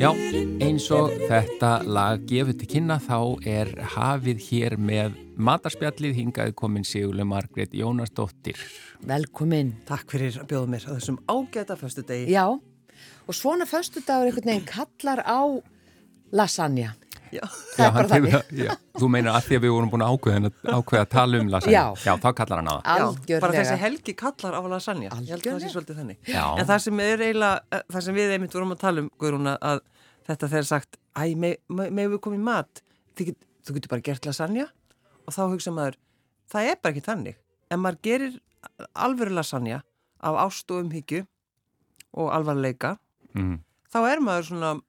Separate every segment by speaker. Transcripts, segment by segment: Speaker 1: Já, eins og þetta lag gefur til kynna þá er hafið hér með matarspjallið hingað komin Sigurlega Margrét Jónasdóttir.
Speaker 2: Velkomin.
Speaker 3: Takk fyrir að bjóða mér að þessum ágæta föstu degi.
Speaker 2: Já, og svona föstudagur einhvern veginn kallar á lasagna.
Speaker 3: Já.
Speaker 2: Það er bara
Speaker 1: hann
Speaker 2: þannig.
Speaker 1: hefur- já, þú meinar að því að við vorum búin að ákveða, ákveða að tala um lasagna.
Speaker 2: Já.
Speaker 1: þá kallar hann á það.
Speaker 2: Algjörlega.
Speaker 3: Bara þessi helgi kallar á lasagna. Ég held að það sé
Speaker 2: Algjörlega.
Speaker 3: svolítið þannig.
Speaker 1: Já.
Speaker 3: En það sem, er eiginlega, eh, það sem við einmitt vorum að tala um, Guðrún, að- að þetta þegar sagt, æ, megum me, við komið mat, Þið get, þú getur bara gert lasagna og þá hugsa maður, það er bara ekki þannig. En maður gerir alvöru lasagna af ást og umhyggju og alvarleika,
Speaker 1: Mm.
Speaker 3: þá er maður svona,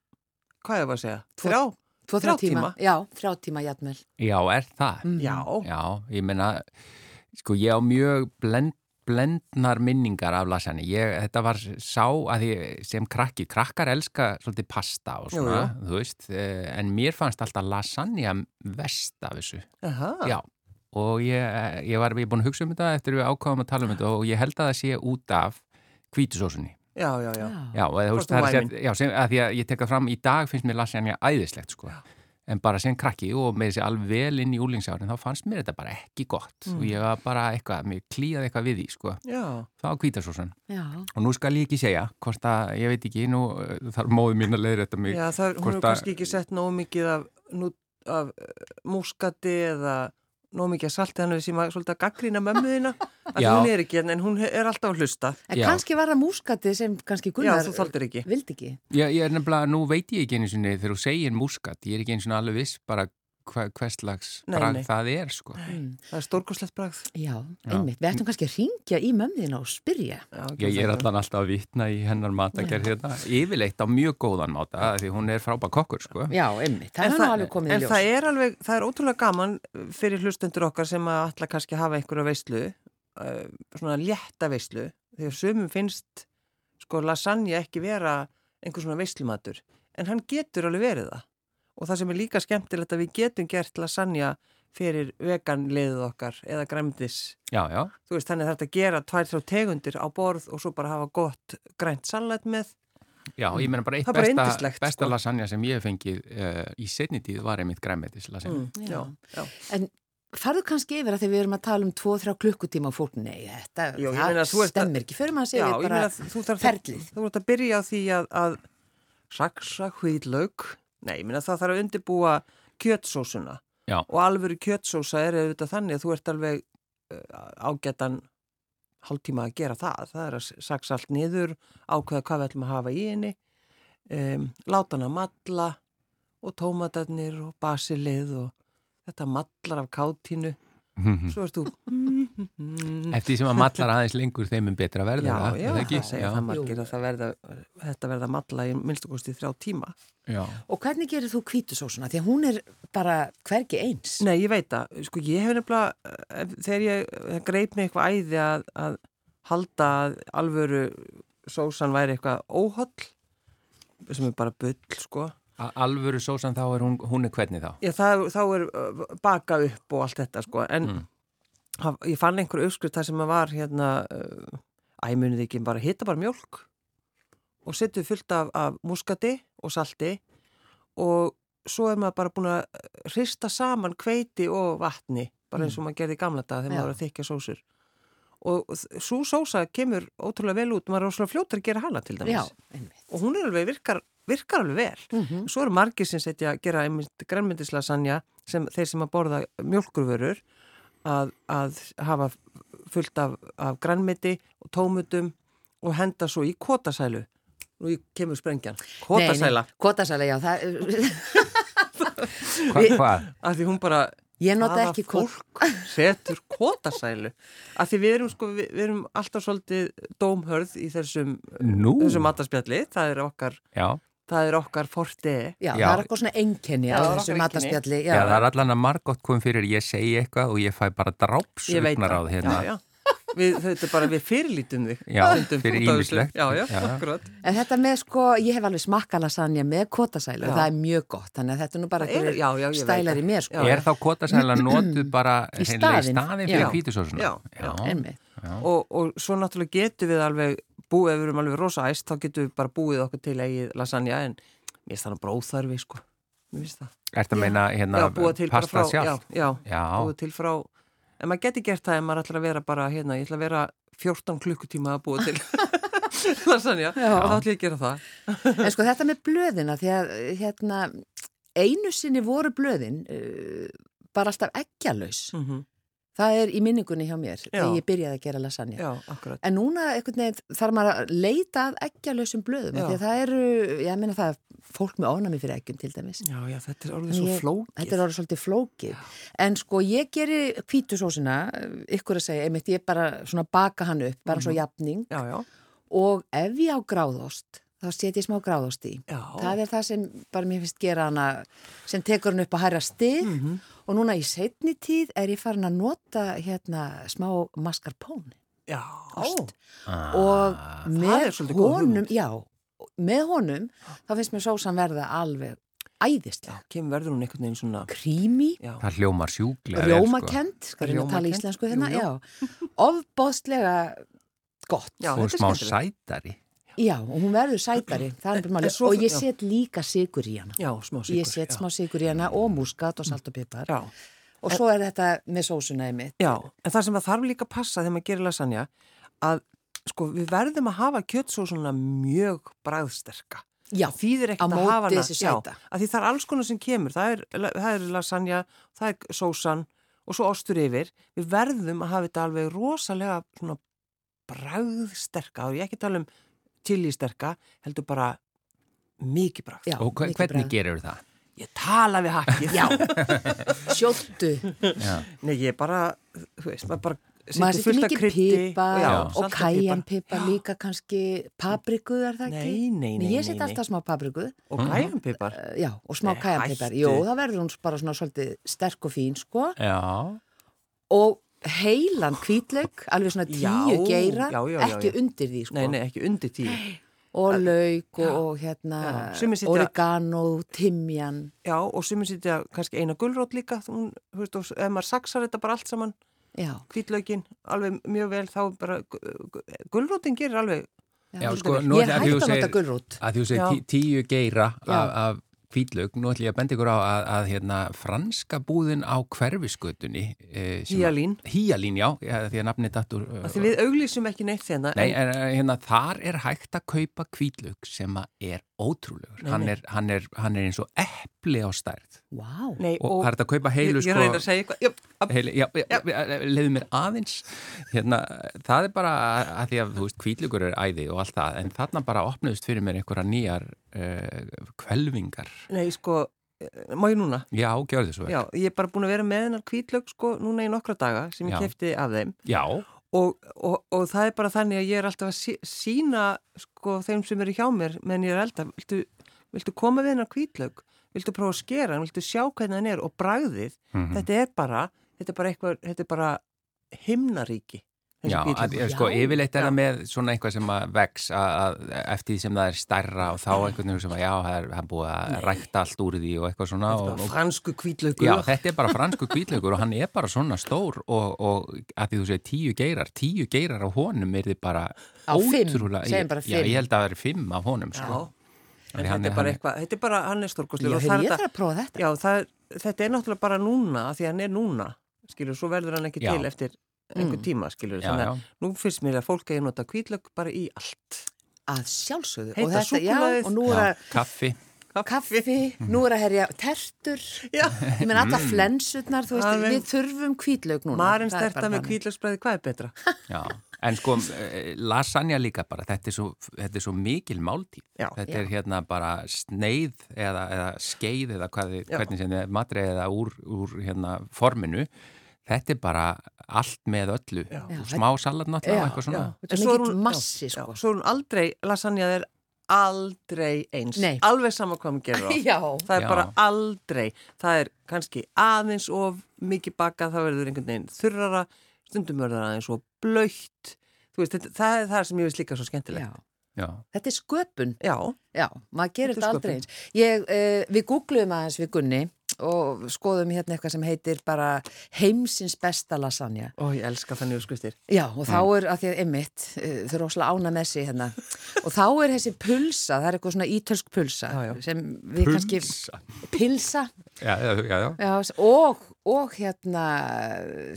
Speaker 3: hvað ég var að segja,
Speaker 2: Tvo-
Speaker 3: þrjá?
Speaker 2: Tvo, þrjá
Speaker 3: þrjá
Speaker 2: tíma.
Speaker 3: tíma.
Speaker 2: Já, þrjá tíma jætmel.
Speaker 1: Já, er það?
Speaker 2: Mm.
Speaker 3: Já,
Speaker 1: Já, ég meina, sko, ég á mjög blend, blendnar minningar af lasagna. Ég, þetta var sá að ég sem krakki, krakkar elska svolítið pasta og
Speaker 3: Jú,
Speaker 1: svona, þú veist, eh, en mér fannst alltaf lasagna vest af þessu.
Speaker 3: Aha.
Speaker 1: Já, og ég, ég var ég er búin að hugsa um þetta eftir við ákváðum að tala um þetta og ég held að það sé út af hvítusósunni.
Speaker 3: já, já, já.
Speaker 1: Já, og þú veist,
Speaker 3: Hvort
Speaker 1: það
Speaker 3: þú
Speaker 1: er sér, já, sem, að því að ég tekka fram í dag finnst mér lasagna æðislegt, sko. En bara sem krakki og með þessi alveg vel inn í úlingsárin, þá fannst mér þetta bara ekki gott. Og ég var bara eitthvað, mér klíðaði eitthvað við því, sko.
Speaker 3: Já,
Speaker 1: Það var hvítasósun.
Speaker 2: Já.
Speaker 1: Og nú skal ég ekki segja, hvort að, ég veit ekki, nú eh, þarf móðu mín að leiðra þetta mig.
Speaker 3: já það, er- hún
Speaker 1: hvort
Speaker 3: hefur
Speaker 1: að-
Speaker 3: kannski ekki sett nógu mikið af, nú, af uh, múskati eða nógu mikið af salti þannig að við séum að svolítið að gaggrýna mömmuðina að
Speaker 1: Já.
Speaker 3: hún er ekki hérna en hún er alltaf að hlusta
Speaker 2: En
Speaker 1: Já.
Speaker 2: kannski var það múskatið sem kannski
Speaker 3: Já,
Speaker 2: Gunnar
Speaker 3: þú þoldir ekki
Speaker 2: vildi ekki.
Speaker 1: Já, ég er nefnilega, nú veit ég ekki einu sinni þegar þú segir múskat, ég er ekki einu sinni alveg viss bara hva, hvers lags
Speaker 3: Nei,
Speaker 1: bragð
Speaker 3: nei.
Speaker 1: það er, sko.
Speaker 3: Það er stórkoslegt bragð
Speaker 2: Já, einmitt. Við ættum kannski að ringja í mömmuðina og spyrja.
Speaker 3: Já,
Speaker 1: Ég,
Speaker 3: gerðu
Speaker 1: ég er
Speaker 3: þetta.
Speaker 1: allan alltaf að vitna í hennar matagerð hérna, yfirleitt á mjög góðan máta, af því hún er frábæk kokkur, sko.
Speaker 2: Já, einmitt. Það
Speaker 3: En
Speaker 2: er nú alveg komið í
Speaker 3: en
Speaker 2: ljós.
Speaker 3: það er alveg, það er ótrúlega gaman fyrir hlustendur okkar sem að alla kannski hafa einhverja veislu, uh, svona létta veislu, þegar sumum finnst sko lasagna ekki vera einhver svona veislumatur, en hann getur alveg verið það. Og það sem er líka skemmtilegt að við getum gert lasagna fyrir veganliðið okkar eða græmdis.
Speaker 1: Já, já,
Speaker 3: Þú veist, þannig þarf þetta að gera tvær þrjá tegundir á borð og svo bara hafa gott grænt salat með.
Speaker 1: já, ég meina bara eitt
Speaker 3: Það er bara
Speaker 1: besta,
Speaker 3: yndislegt,
Speaker 1: besta
Speaker 3: sko.
Speaker 1: lasagna sem ég hef fengið uh, í setni tíð var einmitt græmetis lasagna.
Speaker 3: já,
Speaker 2: Já.
Speaker 3: já.
Speaker 2: En farðu kannski yfir að þegar við erum að tala um 2-3 klukkutíma og fólk, nei, þetta,
Speaker 3: Jú, ég
Speaker 2: það
Speaker 3: meina, þú ert að-
Speaker 2: stemmir ekki. Förum að
Speaker 3: Já,
Speaker 2: segja
Speaker 3: ég
Speaker 2: bara
Speaker 3: meina þú þarf
Speaker 2: ferlið.
Speaker 3: Þú þarf að byrja á því að, að saksa hvíðlaug. Nei, ég meina það þarf að undirbúa kjötsósuna
Speaker 1: Já.
Speaker 3: og alvöru kjötsósa er auðvitað þannig að þú ert alveg uh, ágætan hálftíma að gera það. Það er að saksa allt niður, ákveða hvað við ætlum að hafa í henni, um, láta hann að matla og tómatarnir og basilið og þetta matlar af kátínu. Svo ert þú... Mm-hmm.
Speaker 1: Eftir því sem að matlar aðeins lengur þeim um betra verður
Speaker 3: Já,
Speaker 1: það,
Speaker 3: já,
Speaker 1: er það ekki?
Speaker 3: það segja það margir
Speaker 2: Jú.
Speaker 3: að það verða, þetta verða matla í minnstakosti þrjá tíma.
Speaker 1: já, já.
Speaker 2: Og hvernig gerir þú kvítusósuna? Því að hún er bara hvergi eins.
Speaker 3: Nei, ég veit það, sko ég hef nefnilega, eh, þegar ég það greip mig eitthvað æði að, að halda að alvöru sósan væri eitthvað óholl, sem er bara bull, sko.
Speaker 1: A- Alvöru sósan þá er hún, hún er hvernig þá?
Speaker 3: Já, það, þá er uh, baka upp og allt þetta, sko, en haf, ég fann einhverju uppskrift þar sem að var hérna, uh, æ, munið ekki, bara hitta bara mjólk og setju fullt af, af muskati og salti og svo er maður bara búin að hrista saman hveiti og vatni, bara eins og maður gerði í gamla dag þegar
Speaker 2: Já.
Speaker 3: maður var að þykja sósur. Og svo sósa kemur ótrúlega vel út, maður er ótrúlega fljótur að gera hana til dæmis
Speaker 2: Já, einmitt.
Speaker 3: og hún er alveg virkar, virkar alveg vel. Svo eru margir sem setja að gera grænmyndislasanja sem þeir sem að borða mjölkurvörur að, að hafa fullt af, af grænmyndi og tómutum og henda svo í kótasælu. Nú kemur sprengjan. Kótasæla.
Speaker 2: Nei, nei, Kótasæla, já. Það, uh,
Speaker 1: Hva, hvað?
Speaker 3: Af því hún bara...
Speaker 2: ég nota
Speaker 3: hvaða
Speaker 2: ekki kótasæla.
Speaker 3: fólk setur kótasælu. Af því við erum, sko, við, við erum alltaf svolítið dómhörð í þessum,
Speaker 1: Nú?
Speaker 3: þessum matarspjalli. Það er okkar,
Speaker 1: Já.
Speaker 3: það er okkar fortið.
Speaker 1: Já.
Speaker 2: Já, það er eitthvað svona enginni á
Speaker 3: það er
Speaker 2: þessu
Speaker 3: okkar einkenni.
Speaker 2: matarspjalli.
Speaker 1: Já, það er allan að margótt kom fyrir ég segi eitthvað og ég fæ bara
Speaker 3: Ég veit
Speaker 1: drápsugnar á
Speaker 3: það.
Speaker 1: hérna.
Speaker 3: Já, já. við, þetta er bara við fyrirlítum þig
Speaker 1: Já,
Speaker 3: Stundum
Speaker 1: fyrir
Speaker 3: út af þessu.
Speaker 1: ýmislegt.
Speaker 3: já, já,
Speaker 1: Já.
Speaker 3: akkurat
Speaker 2: En þetta með sko, ég hef alveg smakka lasagna með kotasælu,
Speaker 3: Já.
Speaker 2: það er mjög gott, þannig að þetta er nú bara
Speaker 3: Það er-
Speaker 2: einhverjir
Speaker 3: já, já, ég veit
Speaker 2: stælar
Speaker 3: það.
Speaker 2: í mér sko.
Speaker 3: Já.
Speaker 1: Er þá kotasæla notuð bara
Speaker 2: Í
Speaker 1: hreinlega
Speaker 2: staðinn.
Speaker 1: í staðin
Speaker 2: Já.
Speaker 1: fyrir hvítusósuna?
Speaker 3: Já.
Speaker 2: Einmitt.
Speaker 3: og, og svo náttúrulega getum við alveg búið, ef við erum alveg rosa æst þá getum við bara búið okkur til eigið lasagna en mér finnst það nú bróþarfi sko mér finnst það
Speaker 1: Er það meina hérna
Speaker 3: já, búa til bara
Speaker 1: pasta
Speaker 3: frá já,
Speaker 1: sjálf?
Speaker 3: já,
Speaker 1: Já,
Speaker 3: búa til frá en maður geti gert það ef maður ætlar að vera bara hérna, ég ætla að vera 14 klukkutíma að búa til lasagna,
Speaker 2: Já.
Speaker 3: þá ætla ég að gera það
Speaker 2: En sko þetta með blöðina, því að hérna, einu sinni voru blöðin uh, bara alltaf ekkjalaus.
Speaker 3: mm
Speaker 2: Það er í minningunni hjá mér,
Speaker 3: Já.
Speaker 2: þegar ég byrjaði að gera lasagna.
Speaker 3: já, akkurat
Speaker 2: En núna einhvern veginn þarf maður að leita að ekkjalausum blöðum, af
Speaker 3: Já.
Speaker 2: því að það eru, ég meina það er fólk með ofnami fyrir eggjum til dæmis.
Speaker 3: já, já, þetta er orðið svo
Speaker 2: Ég- Þetta
Speaker 3: flókið
Speaker 2: er orðið svolítið flókið. En sko ég geri hvítusósina, eh, ykkur að segja, einmitt ég bara svona baka hann upp, bara svo
Speaker 3: Mhm.
Speaker 2: jafning
Speaker 3: já, já,
Speaker 2: og ef ég á gráðost, þá set ég smá gráðost í.
Speaker 3: já
Speaker 2: Það er það sem bara mér finnst gera hana, sem tekur hann upp að hæra stig
Speaker 3: Mhm.
Speaker 2: og núna í setni tíð er ég farin að nota hérna smá mascarpone.
Speaker 3: já,
Speaker 2: Ost.
Speaker 1: Ah,
Speaker 2: og
Speaker 3: það
Speaker 2: með
Speaker 3: er svolítið góð
Speaker 2: honum,
Speaker 3: hugmynd.
Speaker 2: já, með honum þá finnst mér sósan verða alveg
Speaker 3: já,
Speaker 2: æðislega.
Speaker 3: kem verður hún einhvern veginn svona
Speaker 2: Krími,
Speaker 3: já,
Speaker 1: það hljómar sjúklega. vel, Sko.
Speaker 2: rjómakent, sko reyna að tala
Speaker 3: Rjómakennd,
Speaker 2: íslensku hérna,
Speaker 3: jú, jú.
Speaker 2: já, ofbóðslega gott.
Speaker 3: Já.
Speaker 2: Já.
Speaker 3: þetta
Speaker 1: Og
Speaker 3: er
Speaker 1: smá
Speaker 3: skemmtilegt.
Speaker 1: sætari.
Speaker 2: og hún verður sætari, það er bara
Speaker 3: En
Speaker 2: málið.
Speaker 3: svo-
Speaker 2: Og ég
Speaker 3: já.
Speaker 2: set líka sigur í hana.
Speaker 3: já, smá sigur
Speaker 2: ég set
Speaker 3: já.
Speaker 2: smá sigur í hana og múskat og salt og pipar.
Speaker 3: já,
Speaker 2: Og svo er þetta með sósunaði mitt.
Speaker 3: já, en það sem að þarf líka að passa þegar maður gerir lasagna að sko, við verðum að hafa kjötsósuna mjög bræðsterka
Speaker 2: Já,
Speaker 3: þýðir
Speaker 2: á
Speaker 3: ekkert að
Speaker 2: móti
Speaker 3: hafa hana
Speaker 2: þessu
Speaker 3: já,
Speaker 2: sæta.
Speaker 3: að því það er alls konar sem kemur það er, það er lasagna, það er sósan og svo ostur yfir við verðum að hafa þetta alveg rosalega svona bragðsterka og ég er ekki að tala um chilisterka heldur bara mikið bragð
Speaker 2: já,
Speaker 1: Og hve-
Speaker 2: mikið
Speaker 1: hvernig
Speaker 2: bragð.
Speaker 1: gerur það?
Speaker 3: ég tala við hakkið
Speaker 2: Já, sjóttu.
Speaker 1: Já.
Speaker 3: Nei, ég bara, þú veist, maður bara
Speaker 2: maður
Speaker 3: setur
Speaker 2: setur
Speaker 3: fullt af
Speaker 2: mikið
Speaker 3: kryddi
Speaker 2: pipar
Speaker 3: já,
Speaker 2: og
Speaker 3: salta og
Speaker 2: kæjanpipar
Speaker 3: pipar.
Speaker 2: líka kannski papriku er það ekki?
Speaker 3: Nei, nei, nei,
Speaker 2: ég set
Speaker 3: nei, nei.
Speaker 2: alltaf smá papriku
Speaker 3: og kæjanpipar
Speaker 2: uh, já, og smá
Speaker 3: Nei,
Speaker 2: kæjanpipar,
Speaker 3: hættu.
Speaker 2: jú, þá verður hún bara svona svolítið sterk og fín sko
Speaker 1: Já.
Speaker 2: og heilan hvítlaug, alveg svona tíu
Speaker 3: Já,
Speaker 2: geira,
Speaker 3: já, já, já,
Speaker 2: ekki
Speaker 3: já.
Speaker 2: undir því sko
Speaker 3: Nei, nei, ekki undir tíu
Speaker 2: og lauk og, og hérna
Speaker 3: Já, sumir sitja-
Speaker 2: oregano, timjan
Speaker 3: Já, og sumir sitja kannski eina gulrót líka hún, þú veist, og s- ef maður saksar þetta bara allt saman
Speaker 2: já,
Speaker 3: hvítlaugin, alveg mjög vel þá er bara, gu- gu- gulrótin gerir alveg
Speaker 1: Já,
Speaker 2: svolítið
Speaker 1: sko,
Speaker 2: vel.
Speaker 1: nú er
Speaker 2: ég er
Speaker 1: það að
Speaker 2: hægt
Speaker 1: þú
Speaker 2: að nota
Speaker 1: segir-
Speaker 2: gulrút
Speaker 1: að því þú
Speaker 3: Já.
Speaker 1: segir tí, tíu geira
Speaker 2: Já.
Speaker 1: af, af kvítlög, nú ætlum ég að benda ykkur á að, að hérna, franska búðin á hverfiskötunni eh, sem að-
Speaker 3: Hýjalín.
Speaker 1: Hýjalín, já, eh, því að nafnið dattur
Speaker 3: af því við auglýsum ekki neitt þérna
Speaker 1: Nei, en, eh, hérna, þar er hægt að kaupa kvítlög sem að er ótrúlegur
Speaker 3: Nei,
Speaker 1: hann,
Speaker 3: nei.
Speaker 1: er, hann, er, hann er eins og epli á stærð
Speaker 2: wow.
Speaker 3: nei
Speaker 1: og, og það er hægt að kaupa
Speaker 3: ég,
Speaker 1: heilu
Speaker 3: ég
Speaker 2: sko.
Speaker 3: reyndi að segja eitthvað já, að-
Speaker 1: Heili, já, já, já. leiðu mér aðeins hérna, það er bara að því að þú veist, kvílugur er æði og allt það en þarna bara opnuðust fyrir mér einhverja nýjar uh, kvelvingar
Speaker 3: Nei, sko, eh, má ég núna?
Speaker 1: já, gjörðu þið svo vel.
Speaker 3: Já, ég er bara búin að vera með hennar hvítlaug sko núna í nokkra daga sem ég
Speaker 1: Já.
Speaker 3: kefti af þeim
Speaker 1: já,
Speaker 3: og, og, og það er bara þannig að ég er alltaf að sí- sína sko, þeim sem eru hjá mér meðan ég er elda, viltu, viltu koma við hennar kvítlaug, viltu prófa að skera hann, viltu sjá hvernig hann er og bragðið
Speaker 1: Mhm.
Speaker 3: þetta er bara, þetta er bara eitthvað þetta er bara himnaríki þessi
Speaker 1: já, að,
Speaker 3: hvítlaukur.
Speaker 1: sko,
Speaker 2: Já.
Speaker 1: yfirleitt er
Speaker 3: Já.
Speaker 1: það með svona eitthvað sem að vex að, að, eftir því sem það er stærra og þá einhvern veginn sem að já, það er, það er búið að rækta allt úr því og eitthvað svona
Speaker 3: Þetta
Speaker 1: og,
Speaker 3: er bara
Speaker 1: og,
Speaker 3: fransku kvítlaugur
Speaker 1: Já, þetta er bara fransku kvítlaugur og hann er bara svona stór og, og að því þú segir tíu geirar, tíu geirar á honum er þið bara
Speaker 2: Á fimm,
Speaker 1: ótrúlega-
Speaker 2: segjum bara
Speaker 1: Já,
Speaker 2: fimm.
Speaker 1: ég held að það er fimm af honum,
Speaker 3: Já.
Speaker 1: sko.
Speaker 3: En
Speaker 1: Þannig hann
Speaker 3: þetta er
Speaker 1: er-
Speaker 3: bara
Speaker 1: hann er-
Speaker 3: eitthvað, þetta er bara hann er
Speaker 2: Já,
Speaker 3: stórkostlega
Speaker 2: heyrðu, ég þarf að prófa þetta
Speaker 3: Já, það, er- þetta er náttúrulega bara núna af því að hann er núna, skilur, svo verður hann ekki
Speaker 1: Já.
Speaker 3: til eftir einhver
Speaker 2: Mm.
Speaker 3: tíma, skilur
Speaker 1: Já,
Speaker 3: þannig
Speaker 1: já.
Speaker 3: að nú finnst mér að fólk eigi nota kvítlögg bara í allt
Speaker 2: að sjálfsögðu
Speaker 3: Heita
Speaker 2: og, þetta, já,
Speaker 3: súkkulaðið.
Speaker 2: og nú er
Speaker 1: Já,
Speaker 2: að
Speaker 1: kaffi,
Speaker 2: kaffi, nú er að herja tertur,
Speaker 3: Já.
Speaker 2: ég menn
Speaker 3: Mm.
Speaker 2: alla flensutnar, þú veist,
Speaker 3: Alveg.
Speaker 2: við þurfum kvítlaug núna.
Speaker 3: Marinn
Speaker 2: Það er
Speaker 3: sterta
Speaker 2: bara
Speaker 3: með
Speaker 2: þannig.
Speaker 3: kvítlögsbræði, hvað er betra?
Speaker 1: já. En sko, eh, lasagna líka bara, þetta er svo, þetta er svo mikil máltíð.
Speaker 3: Já.
Speaker 1: þetta er hérna bara sneið eða, eða skeið eða hvað, þið-
Speaker 3: Já.
Speaker 1: hvernig sem þið matrið eða úr, úr hérna forminu. Þetta er bara allt með öllu.
Speaker 3: Já.
Speaker 1: Og Smá salat náttúrulega, og eitthvað svona.
Speaker 2: Þetta er
Speaker 3: En svo
Speaker 2: mikill
Speaker 3: hún-
Speaker 2: massi,
Speaker 3: já,
Speaker 2: sko.
Speaker 3: já, Svo er hún aldrei, lasagnað er aldrei eins
Speaker 2: Nei.
Speaker 3: Alveg sama hvað hún gerur á
Speaker 2: Já,
Speaker 3: Það er
Speaker 1: Já.
Speaker 3: bara aldrei, það er kannski aðeins of mikið bakað, það verður einhvern veginn þurrara stundum verður það aðeins svo blöytt þú veist, þetta, það er það sem ég veist líka svo skemmtilegt
Speaker 2: Já.
Speaker 1: já,
Speaker 2: Þetta er sköpun,
Speaker 3: já,
Speaker 2: já, maður gerir
Speaker 3: Þetta
Speaker 2: þetta
Speaker 3: er
Speaker 2: aldrei
Speaker 3: sköpun.
Speaker 2: eins. Ég, uh, við googluðum aðeins við Gunni og skoðum hérna eitthvað sem heitir bara heimsins besta lasagna.
Speaker 3: og ég elska þannig úrskriftir
Speaker 2: Já, og þá
Speaker 3: Mm.
Speaker 2: er, að því að ymmit, uh, þau eru óslega ána með sig hérna, og þá er þessi pulsa, það er eitthvað svona ítölsk pulsa
Speaker 3: Já, já.
Speaker 2: sem við kannski,
Speaker 1: Pulsa.
Speaker 2: pilsa,
Speaker 1: já, já, já, já.
Speaker 2: já, og, og hérna,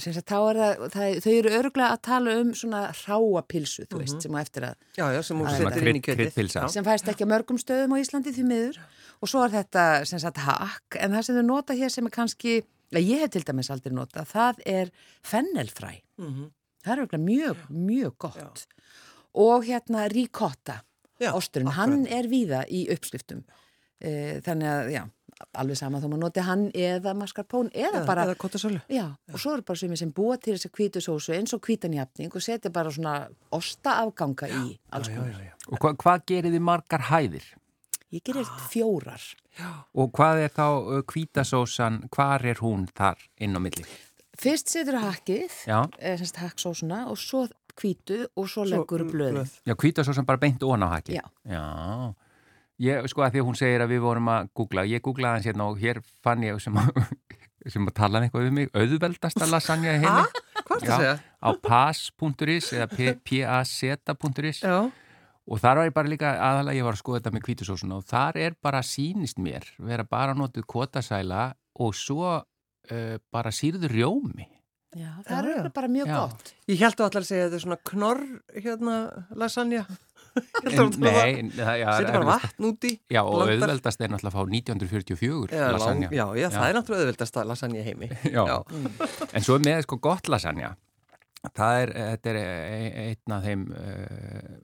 Speaker 2: sem sagt, þá er það, það, þau eru örgulega að tala um svona ráa pilsu, þú
Speaker 3: Mhm.
Speaker 2: veist, sem á eftir að
Speaker 3: já, já, sem hún
Speaker 1: Svona
Speaker 3: setur inn í
Speaker 1: krydd-
Speaker 3: kjötið
Speaker 1: kryddpylsa.
Speaker 3: Já.
Speaker 2: sem fæst ekki á mörgum stöðum á Íslandi því miður og svo er þetta sem sagt hakk en það sem þau nota hér sem er kannski að ég hef til dæmis aldrei nota, það er fennelfræ,
Speaker 3: Mhm.
Speaker 2: það er auðvitað mjög, mjög gott og hérna ricotta,
Speaker 3: Já,
Speaker 2: osturinn hann er víða í uppskriftum e, þannig að, já, alveg sama þó maður noti hann eða mascarpone eða
Speaker 3: eða,
Speaker 2: bara,
Speaker 3: eða kottasölu
Speaker 2: já, og svo eru bara sumir sem búa til þess að hvítu sósu eins og hvítanjafning og setja bara svona ostaafganga í alls konar,
Speaker 1: og hva, hvað gerir þið margar hæðir?
Speaker 2: ég gerir fjórar
Speaker 1: Og hvað er þá uh, hvítasósan, hvar er hún þar inn á milli?
Speaker 2: Fyrst setur hakkið,
Speaker 1: Já.
Speaker 2: eh, sem sagt hakksósuna og svo hvítu og svo leggur blöð.
Speaker 1: Já, hvítasósan bara beint ofan á haki.
Speaker 2: Já.
Speaker 1: Já. Ég, sko að því að hún segir að við vorum að googla, ég googlaði hans hérna og hér fann ég sem að, sem að tala um eitthvað um mig, auðveldasta lasagna í
Speaker 3: ha?
Speaker 1: heimi.
Speaker 3: hvað
Speaker 1: Já,
Speaker 3: er það að segja?
Speaker 1: Á pas.is eða p- p-a-z.is
Speaker 3: já,
Speaker 1: og þar var ég bara líka aðalega, ég var að skoða þetta með hvítusósuna og þar er bara sýnist mér, vera bara notuð kotasæla og svo uh, bara sírður rjómi.
Speaker 2: Já,
Speaker 3: Já,
Speaker 2: það
Speaker 3: já.
Speaker 2: eru bara mjög
Speaker 1: Já.
Speaker 2: gott.
Speaker 3: ég held þú allar að segja þetta er svona knorr hérna lasagna Ég held
Speaker 1: En,
Speaker 3: að þú allar að
Speaker 1: nei, það, já,
Speaker 3: setja bara vatn úti
Speaker 1: Já, og
Speaker 3: blandar-
Speaker 1: auðveldast er náttúrulega að fá 1944
Speaker 3: Já,
Speaker 1: lasagna.
Speaker 3: lang, já, já, það er náttúrulega auðvildast að lasagna í heimi.
Speaker 1: Já.
Speaker 2: Mm.
Speaker 1: En svo er með sko gott lasagna. Það er, þetta er e- einn af þeim uh,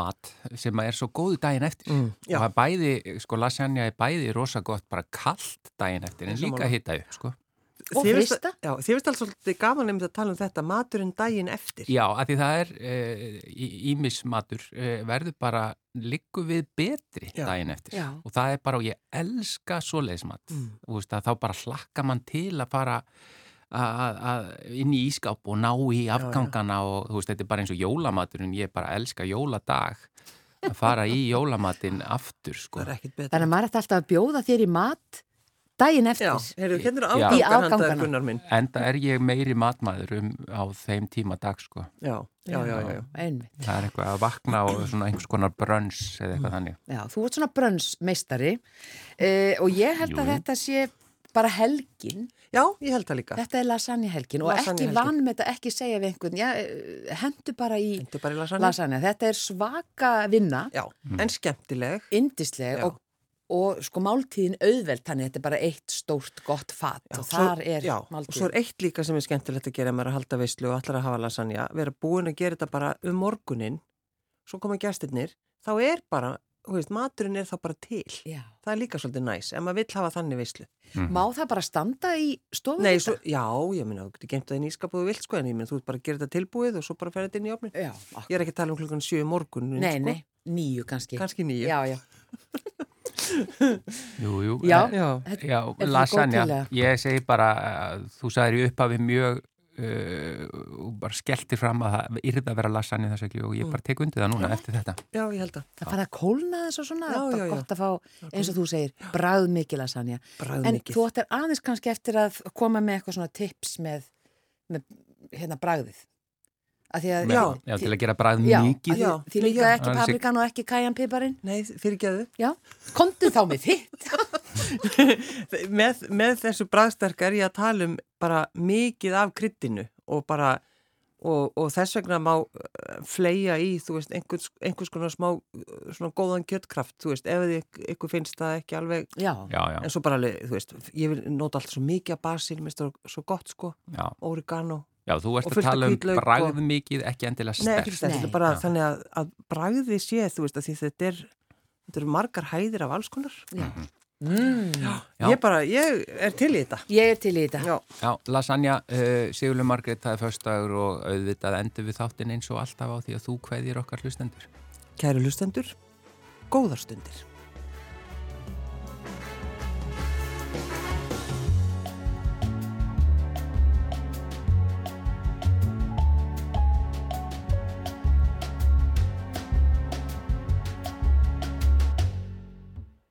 Speaker 1: mat sem er svo góðu daginn eftir.
Speaker 3: Mm, já.
Speaker 1: og það er bæði, sko lasagna er bæði rosa gott bara kallt daginn eftir en
Speaker 3: Sammála.
Speaker 1: líka hitta upp, sko.
Speaker 2: Og
Speaker 3: Þið veist-
Speaker 2: frysta.
Speaker 3: Já, þið veist alls svolítið gaman um að tala um þetta, maturinn daginn eftir.
Speaker 1: Já, af því það er eh, ímismatur uh, verður bara liggu við betri
Speaker 3: Já.
Speaker 1: daginn eftir.
Speaker 2: Já.
Speaker 1: Og það er bara, og ég elska svoleiðismat.
Speaker 3: Mm.
Speaker 1: Þú veist að þá bara hlakka mann til að fara að- að- inn í ískáp og ná í afgangana og þú veist, þetta er bara eins og jólamaturinn, ég bara elska jóladag að fara í jólamatinn aftur, sko.
Speaker 3: Það er ekkit betra.
Speaker 2: Þannig að maður ætti alltaf að bjóða þér í mat daginn
Speaker 3: Já,
Speaker 2: eftir.
Speaker 3: heyrðu, hérna er
Speaker 1: Já.
Speaker 2: Í
Speaker 3: afgangan handaður
Speaker 2: afgangana.
Speaker 3: Gunnar minn.
Speaker 1: Enda er ég meiri matmaður um, á þeim tíma dag, sko.
Speaker 3: Já, já, já, já. já.
Speaker 2: Einmitt.
Speaker 1: Það er eitthvað að vakna og svona einhvers konar brönns eða
Speaker 3: Mm.
Speaker 1: eitthvað þannig.
Speaker 2: Já, þú ert svona brönnsmeistari uh, og ég held að
Speaker 1: Jú.
Speaker 2: þetta sé bara helgin,
Speaker 3: Já, ég held það líka.
Speaker 2: þetta er lasagna helgin og ekki
Speaker 3: Lasagnahelgin.
Speaker 2: vann með þetta, ekki segja við einhvern, já, eh, hendu bara í
Speaker 3: Þetta er bara í lasagna.
Speaker 2: lasagna. Þetta er svaka vinna,
Speaker 3: Já, en skemmtileg.
Speaker 2: yndisleg
Speaker 3: Já.
Speaker 2: og, og sko máltíðin auðveld, þannig að þetta er bara eitt stórt gott fat
Speaker 3: Já,
Speaker 2: og þar er
Speaker 3: já, og
Speaker 2: máltíðin.
Speaker 3: svo er eitt líka sem er skemmtilegt að gera ef maður er að halda veislu og allar að hafa lasagna, vera búin að gera þetta bara um morgunin, svo koma gæstinnir, þá er bara, þú veist, maturinn er þá bara til.
Speaker 2: Já.
Speaker 3: Það er líka svolítið næs, ef maður vill hafa þannig veislu.
Speaker 1: Mhm.
Speaker 2: Má það bara standa í stofu?
Speaker 3: Nei, svo, já, ég minna, þú getur geimt það inn í skap og þú vilt sko, en ég minna, þú ert bara að gera þetta tilbúið og svo bara ferði þetta inn í ofnin.
Speaker 2: Já, akkur.
Speaker 3: Ég er ekki að tala um klukkan sjö í morgun,
Speaker 2: Nei, nei, nýju kannski.
Speaker 3: sko. kannski nýju.
Speaker 2: Já, já.
Speaker 1: Mm. Jú, jú.
Speaker 2: Já.
Speaker 1: en-
Speaker 3: já.
Speaker 2: Þetta-
Speaker 1: Já,
Speaker 2: það góð
Speaker 1: lasagna.
Speaker 2: tillaga?
Speaker 1: Ég segi bara, að þú sagðir í upphafi mjög uh, og bara skellti fram að það yrði að vera lasagna í þessu ekki og
Speaker 3: Mm.
Speaker 1: ég bara tek undið það núna eftir þetta.
Speaker 3: já, ég held að.
Speaker 2: Það fann að kólna þess og svona,
Speaker 3: Já,
Speaker 2: það er
Speaker 3: já,
Speaker 2: bara
Speaker 3: já.
Speaker 2: gott að fá, eins og þú segir, bræð mikil að sanja. En
Speaker 3: Bræðmikið.
Speaker 2: þú ættir aðeins kannski eftir að koma með eitthvað svona tips með, með hérna bræðið. Að því að,
Speaker 3: Eh, Já.
Speaker 1: Já, til að gera bræð
Speaker 2: já,
Speaker 1: mikið.
Speaker 2: Já,
Speaker 3: Já,
Speaker 2: því líka
Speaker 3: já.
Speaker 2: ekki
Speaker 1: Aðeins í-
Speaker 2: paprikan og ekki kajanpiparinn.
Speaker 3: Nei, fyrir
Speaker 2: Já, komdu þá með þitt.
Speaker 3: með, með þessu bræðsterk er ég að tala um bara mikið af kryddinu og bara og, og þess vegna má eh, fleygja í, þú veist, einhvers, einhvers konar smá eh, svona góðan kjöttkraft, þú veist, ef þið ykkur finnst það ekki alveg
Speaker 2: Já,
Speaker 1: Já, já,
Speaker 3: en svo bara alveg, þú veist, ég vil nota allt svo mikið af basil, mér stór svo gott sko
Speaker 1: já.
Speaker 3: oregano,
Speaker 1: Já, þú ert
Speaker 3: Og
Speaker 1: að
Speaker 3: fullt af
Speaker 1: tala um
Speaker 3: hvítlauk og-
Speaker 1: bræð mikið, ekki endilega
Speaker 3: nei ekki
Speaker 1: sterkt.
Speaker 3: stert, þetta
Speaker 2: Nei.
Speaker 3: er bara
Speaker 1: Já.
Speaker 3: þannig að, að bragði sé, þú veist, að því þetta er þetta eru margar hæðir af alls konar
Speaker 2: já.
Speaker 1: Mm. Já.
Speaker 3: ég bara, ég er til í þetta
Speaker 2: Ég er til í þetta.
Speaker 3: já,
Speaker 1: Já, lasagna, uh, Sigurlu Margrét, það er föstagur og auðvitað endur við þáttinn eins og alltaf á því að þú kveðir okkar hlustendur.
Speaker 3: kæru hlustendur góðar stundir